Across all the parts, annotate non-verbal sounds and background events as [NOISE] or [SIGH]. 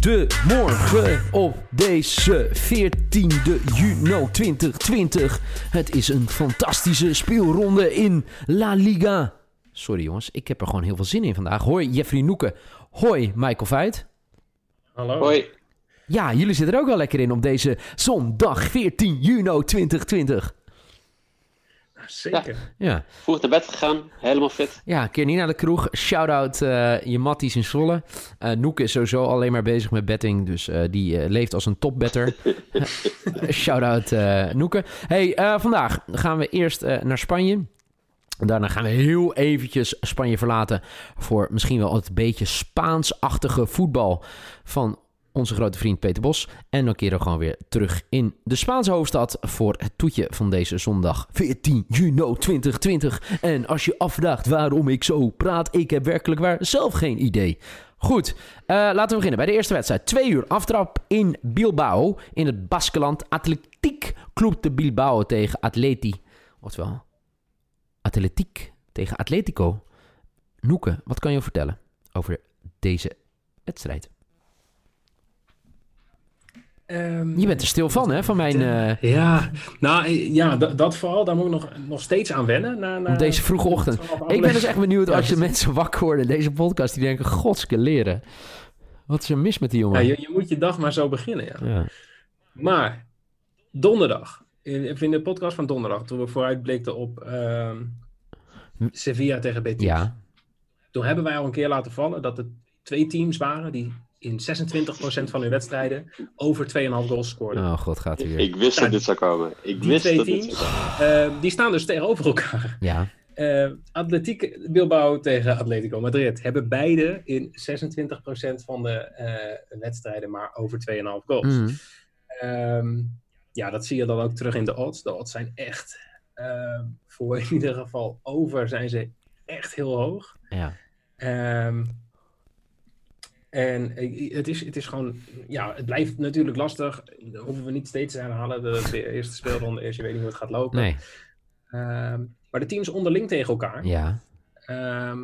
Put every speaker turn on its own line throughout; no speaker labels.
Goedemorgen op deze 14e juni 2020. Het is een fantastische speelronde in La Liga. Sorry jongens, ik heb er gewoon heel veel zin in vandaag. Hoi Jeffrey Noeken. Hoi Michael Veit.
Hallo.
Hoi.
Ja, jullie zitten er ook wel lekker in op deze zondag 14 juni 2020.
Ja, Zeker.
Ja,
Vroeg naar bed gegaan, helemaal fit.
ja een keer niet naar de kroeg. Shout-out eh, je matties in Zwolle. Eh Noeke is sowieso alleen maar bezig met betting, dus eh, die eh, leeft als een topbetter. Shout-out eh, Noeke. hey, eh, vandaag gaan we eerst eh, naar Spanje. Daarna gaan we heel eventjes Spanje verlaten voor misschien wel het beetje Spaansachtige voetbal van onze grote vriend Peter Bos. En dan keren we gewoon weer terug in de Spaanse hoofdstad voor het toetje van deze zondag 14 juni 2020. En als je afvraagt waarom ik zo praat, ik heb werkelijk waar zelf geen idee. Goed, eh, laten we beginnen bij de eerste wedstrijd. Twee uur aftrap in Bilbao in het Baskeland. Atletiek Club de Bilbao tegen Atleti. Oftewel, Atletiek tegen Atletico. Noeke, wat kan je vertellen over deze wedstrijd?
Ehm,
Je bent er stil van, hè? Van mijn, eh,
Ja, nou eh, ja, dat, dat vooral, daar moet ik nog, nog steeds aan wennen. Na, na,
op deze vroege ochtend. Ik ben dus echt benieuwd
Ja,
als je
precies.
mensen wakker worden in deze podcast. Die denken, godske leren. Wat is er mis met die
Ja,
jongen?
je, je moet je dag maar zo beginnen. Ja.
Ja.
Maar, donderdag. In, in de podcast van donderdag, toen we vooruitblikten op ehm, Sevilla tegen Betis.
Ja.
Toen hebben wij al een keer laten vallen dat er twee teams waren die in 26% van hun wedstrijden over 2,5 goals scoorden.
Oh god, gaat hij weer.
Ik wist dat dit zou komen. Ik
Die
wist
twee
dat dit zou
teams,
komen.
eh, die staan dus tegenover elkaar.
Ja.
Eh Atletiek Bilbao tegen Atletico Madrid hebben beide in 26% van de eh, wedstrijden maar over 2,5 goals.
Mm.
Ehm, ja, dat zie je dan ook terug in de odds. De odds zijn echt, ehm, voor in ieder geval over, zijn ze echt heel hoog.
Ja.
Ehm, en eh, het is, het is gewoon, ja, het blijft natuurlijk lastig. Daar hoeven we niet steeds aan te halen dat het de eerste speelronde is. Je weet niet hoe het gaat lopen.
Nee.
Ehm, maar de teams onderling tegen elkaar.
Ja.
Ehm,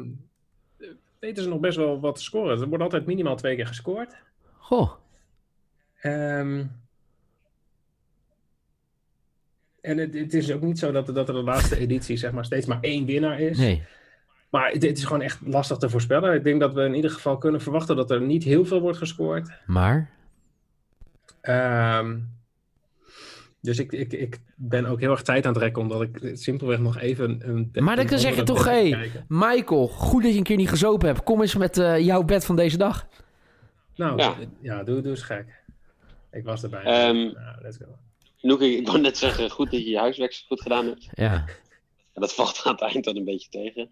weten ze nog best wel wat te scoren. Er wordt altijd minimaal twee keer gescoord.
Goh.
Ehm, en het, het is ook niet zo dat, dat er de laatste editie zeg maar, steeds maar één winnaar is.
Nee.
Maar het, het is gewoon echt lastig te voorspellen. Ik denk dat we in ieder geval kunnen verwachten dat er niet heel veel wordt gescoord.
Maar.
Ehm, dus ik, ik, ik ben ook heel erg tijd aan het rekken, omdat ik simpelweg nog even... Een,
Maar dan kan
een
zeg je
andere
toch,
wedstrijd
hé,
kijken.
Michael, goed dat je een keer niet gezopen hebt. Kom eens met eh, jouw bed van deze dag.
Nou,
Ja.
ja, doe, doe eens gek. Ik was erbij.
Ehm,
nou, let's go.
Noek, ik wou net zeggen, goed dat je je huiswerk zo goed gedaan hebt.
Ja.
En dat valt aan het eind dan een beetje tegen.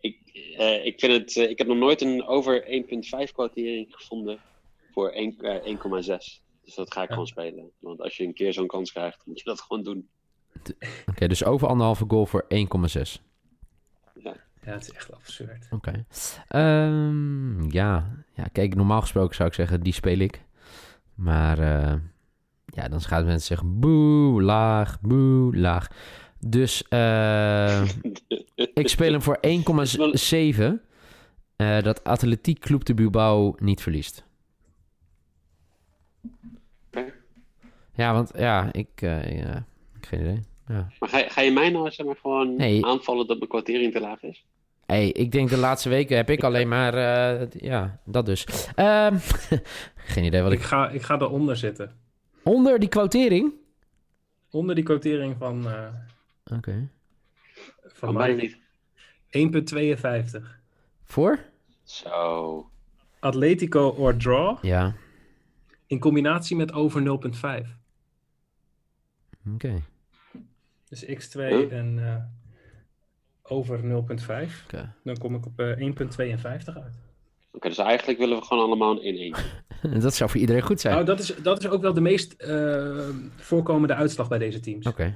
Ik, eh, ik, vind het, eh, ik heb nog nooit een over 1.5 quotering gevonden voor één- eh, 1,6. Dus dat ga ik
Ja.
gewoon spelen. Want als je een keer zo'n kans krijgt, moet je dat gewoon doen.
Oké, dus over anderhalve goal voor 1,6.
Ja, het is echt absurd.
Oké. Ehm, ja. ja, kijk, normaal gesproken zou ik zeggen, die speel ik. Maar eh, ja, dan gaan mensen zeggen, boe, laag, boe, laag. Dus eh, ik speel hem voor 1,7. eh, dat Atletiek Club de Bilbao niet verliest.
Oké.
Ja, want ja, ik... eh, ja, ik geen idee. Ja.
Maar ga, ga je mij nou zeg maar, gewoon
Nee.
aanvallen dat mijn kwartering te laag is?
Hey, ik denk de laatste weken heb ik alleen maar... eh, ja, dat dus. Ehm, [LAUGHS] geen idee wat ik...
Ik ga, ik ga eronder zitten.
Onder die quotering?
Onder die quotering van, eh
Oké.
van
mij
mij.
niet.
1,52.
Voor?
Zo.
Atletico or draw
Ja.
in combinatie met over 0,5.
Oké. [LAUGHS]
Dus x2
Huh?
en eh, over 0,5.
Oké.
Dan kom ik op eh, 1,52 uit.
Oké, dus eigenlijk willen we gewoon allemaal een 1-1.
Dat zou voor iedereen goed zijn.
Nou,
Oké.
dat is, dat is ook wel de meest eh, voorkomende uitslag bij deze
dus-
teams.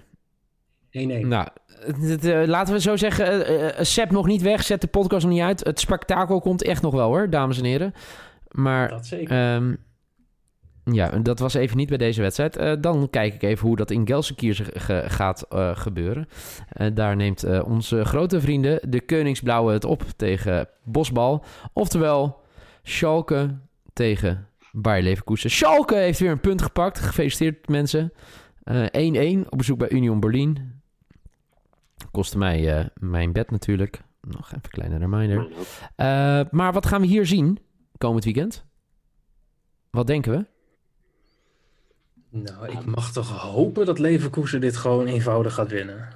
1-1.
Nou, het- het, eh, laten we zo zeggen, eh, eh, Sep nog niet weg, zet de podcast nog niet uit. Het spektakel komt echt nog wel hoor, dames en heren. Maar
dat zeker.
ehm, ja, dat was even niet bij deze wedstrijd. Eh, dan kijk ik even hoe dat in Gelsenkirchen ge- ge- gaat eh, gebeuren. Eh, daar neemt eh, onze grote vrienden, de Koningsblauwe, het op tegen Bosbal. Oftewel, Schalke tegen Bayer Leverkusen. Schalke heeft weer een punt gepakt. Gefeliciteerd mensen. Eh, 1-1 op bezoek bij Union Berlin. Kostte mij eh, mijn bed natuurlijk. Nog even een kleine reminder.
Mijn ook.
Eh, maar wat gaan we hier zien komend weekend? Wat denken we?
Nou, ik mag toch hopen dat Leverkusen dit gewoon eenvoudig gaat winnen.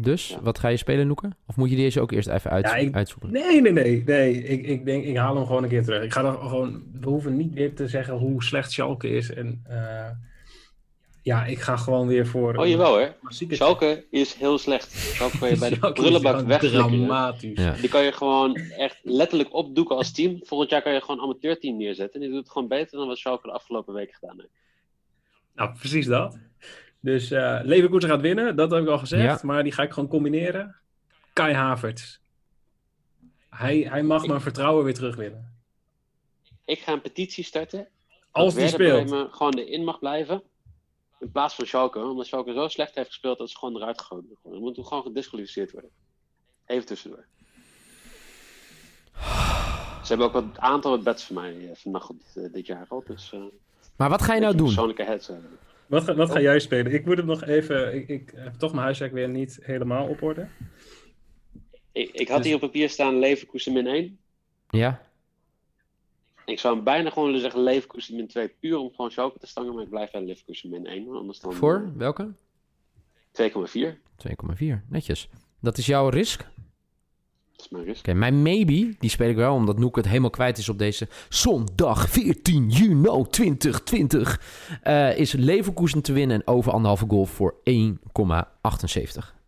Dus,
Ja.
wat ga je spelen, Noeke? Of moet je deze ook eerst even uit,
Ja, ik-
uitzoeken?
Nee, nee, nee. nee. Ik, ik denk, ik haal hem gewoon een keer terug. Ik ga er gewoon, we hoeven niet weer te zeggen hoe slecht Schalke is. En eh, ja, ik ga gewoon weer voor.
Oh
een
jawel hoor.
klassieke- [LAUGHS]
Schalke is heel slecht. Schalke kan je bij de
Schalke is
prullenbak
gewoon
wegdrukken.
Dramatisch.
Ja.
Die kan je gewoon echt letterlijk opdoeken als team. Volgend jaar kan je gewoon een amateurteam neerzetten. En die doet het gewoon beter dan wat Schalke de afgelopen week gedaan heeft.
Nou, precies dat. Dus eh Leverkusen gaat winnen, dat heb ik al gezegd. Maar die ga ik gewoon combineren. Kai Havertz. Hij, hij mag mijn vertrouwen weer terugwinnen.
Ik ga een petitie starten.
Als die
Werder
speelt.
Bremen gewoon erin mag blijven. In plaats van Schalke. Omdat Schalke zo slecht heeft gespeeld dat ze gewoon eruit gegooid moeten worden. Dan moet gewoon gedisqualificeerd worden. Even tussendoor. Ze hebben ook wat aantal wat bets van mij eh, vannacht op dit, eh, dit jaar al. Dus eh
Maar wat ga je nou
een
doen?
persoonlijke heads eh, hebben.
Wat ga, wat ga jij spelen? Ik moet hem nog even. Ik, ik heb toch mijn huiswerk weer niet helemaal op orde.
Ik, ik had hier op papier staan Leverkusen min 1.
Ja?
Ik zou hem bijna gewoon willen zeggen Leverkusen min 2. Puur om gewoon Schalke te stangen. Maar ik blijf bij Leverkusen min 1. want Anders dan
Voor? Welke?
eh, 2,4.
2,4. Netjes. Dat is jouw risk? Oké,
Dat is mijn risk.
mijn maybe, die speel ik wel, omdat Noek het helemaal kwijt is op deze zondag 14 juni 2020. eh, is Leverkusen te winnen en over anderhalve goal voor 1,78.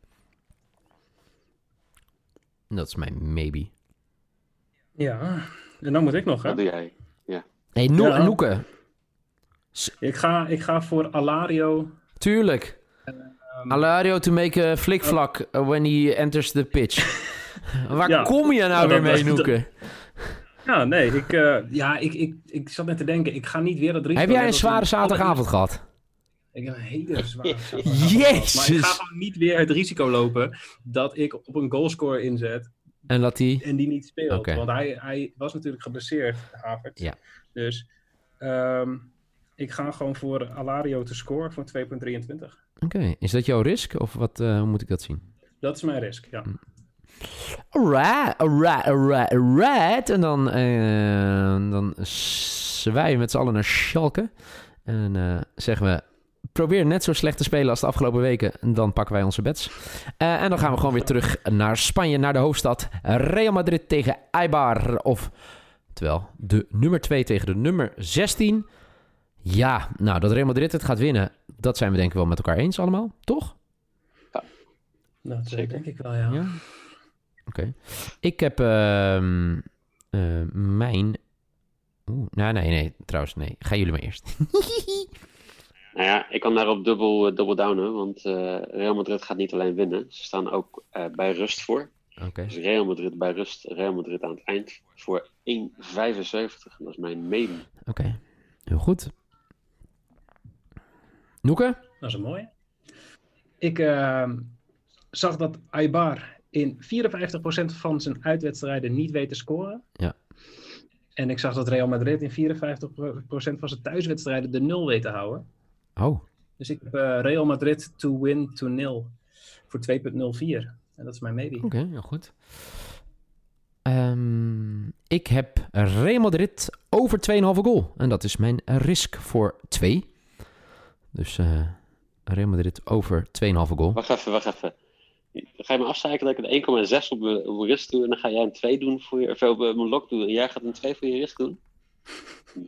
Dat is mijn maybe.
Ja, en dan moet ik nog, hè?
Dat doe jij.
Hé, hey, Noe-
Ja.
Noeke,
Ik ga, ik ga voor Alario.
tuurlijk.
Ehm,
Alario to make a flikvlak uh, when he enters the
[LAUGHS]
pitch. Waar
Ja.
kom je nou
Ja,
weer
dat-
mee,
dat-
Noeke?
Ja, nee, ik, eh, ja, ik, ik, ik zat net te denken, ik ga niet weer [LAUGHS] dat risico...
Heb jij een
hebben
zware
als- [LAUGHS]
zaterdagavond gehad?
Ik heb een hele zware zaterdagavond.
Jezus.
Maar ik ga gewoon niet weer het risico lopen dat ik op een goalscore inzet
En dat hij...
en die niet speelt.
Oké.
Want hij, hij was natuurlijk geblesseerd, Havertz.
Ja.
Dus ehm, ik ga gewoon voor Alario te scoren voor 2,23.
Oké, is dat jouw risk of wat eh, hoe moet ik dat zien?
Dat is mijn risk,
Hm.
ja.
Alright, alright, alright, alright. En dan, eh dan zwaaien we met z'n allen naar Schalke. En eh, zeggen we, probeer net zo slecht te spelen als de afgelopen weken. En Dan pakken wij onze bets. Eh, en dan gaan we gewoon weer terug naar Spanje, naar de hoofdstad. Real Madrid tegen Eibar. Of, terwijl, de nummer 2 tegen de nummer 16. Ja, nou, dat Real Madrid het gaat winnen, dat zijn we denk ik wel met elkaar eens allemaal, toch?
Nou, dat
Zeker.
denk ik wel,
Ja. Oké. Ik heb ehm, eh, mijn. Oeh, nou, nee, nee, trouwens, nee. Gaan jullie maar eerst. [LAUGHS]
Nou ja, ik kan daarop dubbel, eh, dubbel downen, want eh, Real Madrid gaat niet alleen winnen. Ze staan ook eh, bij rust voor.
Oké.
Dus Real Madrid bij rust, Real Madrid aan het eind voor 1,75. Dat is mijn meme.
Oké. Heel goed. Noeke?
Dat is een mooie. Ik ehm, zag dat Aibar in 54% van zijn uitwedstrijden niet weet te scoren.
Ja.
En ik zag dat Real Madrid in 54% van zijn thuiswedstrijden de nul weet te houden.
Oh,
Dus ik heb eh, Real Madrid to win to nil voor 2.04. En dat is mijn maybe.
oké, heel goed. Ehm, ik heb Real Madrid over 2,5 goal. En dat is mijn risk voor 2. Dus eh Real Madrid over 2,5 goal.
Wacht even, wacht even. Dan ga je me afzeiken dat ik een 1,6 op mijn op mijn rust doe en dan ga jij een 2 doen voor je, of op eh, mijn lok doen en jij gaat een 2 voor je rust doen?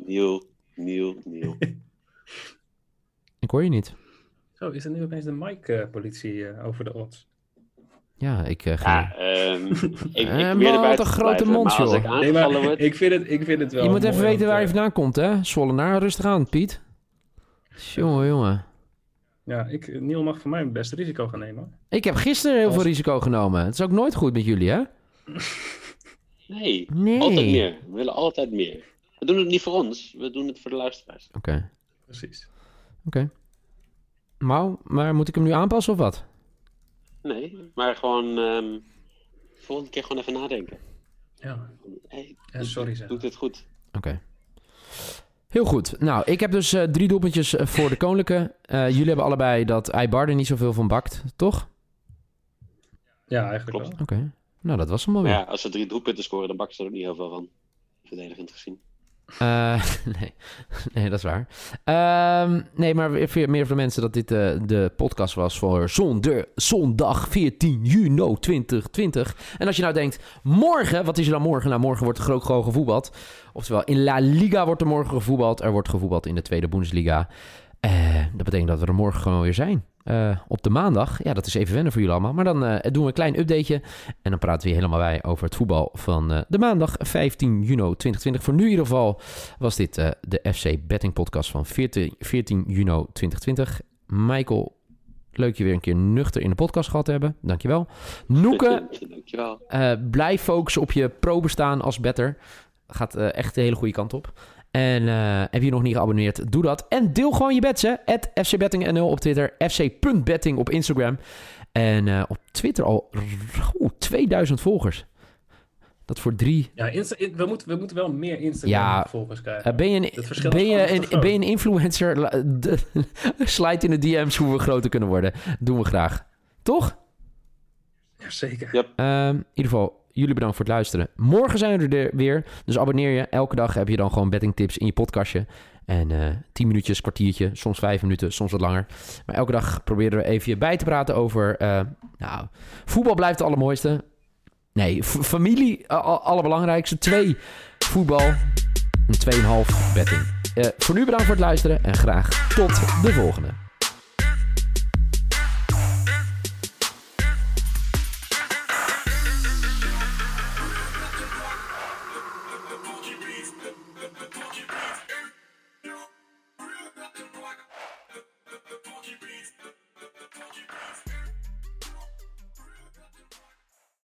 Niel, Niel, Niel.
Ik hoor je niet.
Zo, is er nu opeens de mic-politie eh, over de odds?
Ja, ik eh, ga.
Ja, ehm, ik,
Eh,
ik
man,
weer
wat
erbij
een
te
grote
blijven,
mond,
maar als
joh.
ik
Nee,
aangevallen
maar
word,
ik vind het, ik vind het wel
Je moet
mooi,
even weten
want,
waar
eh,
je vandaan komt, hè? Zwollenaar, rustig aan, Piet. Jongen, jongen.
Ja, ik, Neil mag voor mij het beste risico gaan nemen. hoor.
Ik heb gisteren heel
Als-
veel risico genomen. Het is ook nooit goed met jullie, hè?
nee.
Nee.
Altijd meer. We willen altijd meer. We doen het niet voor ons, we doen het voor de luisteraars.
Oké.
Precies.
Mau, maar moet ik hem nu aanpassen of wat?
Nee, maar gewoon ehm, volgende keer gewoon even nadenken.
Ja,
Hey,
en sorry zeg.
doet dit goed?
Oké. Heel goed. Nou, ik heb dus eh, drie doelpuntjes eh, voor de Koninklijke. Eh, jullie hebben allebei dat Eibar er niet zoveel van bakt, toch?
Ja, eigenlijk
Klopt.
wel.
Oké. Nou, dat was hem alweer.
Maar ja, als ze drie doelpunten scoren, dan bakken ze er ook niet heel veel van. Verdedigend gezien.
Eh, [LAUGHS] nee. nee, dat is waar. Ehm, nee, maar weer- weer meer voor de mensen dat dit eh, de podcast was voor zonde, zondag 14 juni 2020. En als je nou denkt, morgen, wat is er dan morgen? Nou, morgen wordt er ook gewoon gevoetbald. Oftewel, in La Liga wordt er morgen gevoetbald. Er wordt gevoetbald in de Tweede Bundesliga. Eh, dat betekent dat we er morgen gewoon weer zijn. Eh, op de maandag. Ja, dat is even wennen voor jullie allemaal. Maar dan eh, doen we een klein updateje. En dan praten we hier helemaal bij over het voetbal van eh, de maandag 15 juni 2020. Voor nu in ieder geval was dit eh, de FC Betting Podcast van 14, 14 juni 2020. Michael, leuk je weer een keer nuchter in de podcast gehad te hebben. Dankjewel. Noeke,
[LAUGHS] Dankjewel.
eh, blijf focussen op je pro-bestaan als better. Gaat eh, echt de hele goede kant op. En eh, heb je nog niet geabonneerd, doe dat. En deel gewoon je bets, hè. At fcbettingnl op Twitter, fc.betting op Instagram. En eh, op Twitter al r- oeh, 2000 volgers. Dat voor drie...
Ja, Insta- in- we, moeten, we moeten wel meer Instagram-volgers krijgen.
Eh, ben, je
Het
een,
verschil
ben,
is
je
gewoon te
een,
groot.
ben je een influencer? La- [LAUGHS] de- Slide in de DM's hoe we groter kunnen worden. Doen we graag. Toch?
Ja, zeker.
Ja.
Ehm, in ieder geval, jullie bedankt voor het luisteren. Morgen zijn we er weer. Dus abonneer je. Elke dag heb je dan gewoon bettingtips in je podcastje. En eh 10 minuutjes, kwartiertje, soms 5 minuten, soms wat langer. Maar elke dag proberen we even je bij te praten over. eh, nou, voetbal blijft het allermooiste. Nee, f- familie, eh, al- allerbelangrijkste. Twee, voetbal. En 2,5 betting. Eh, voor nu bedankt voor het luisteren en graag tot de volgende.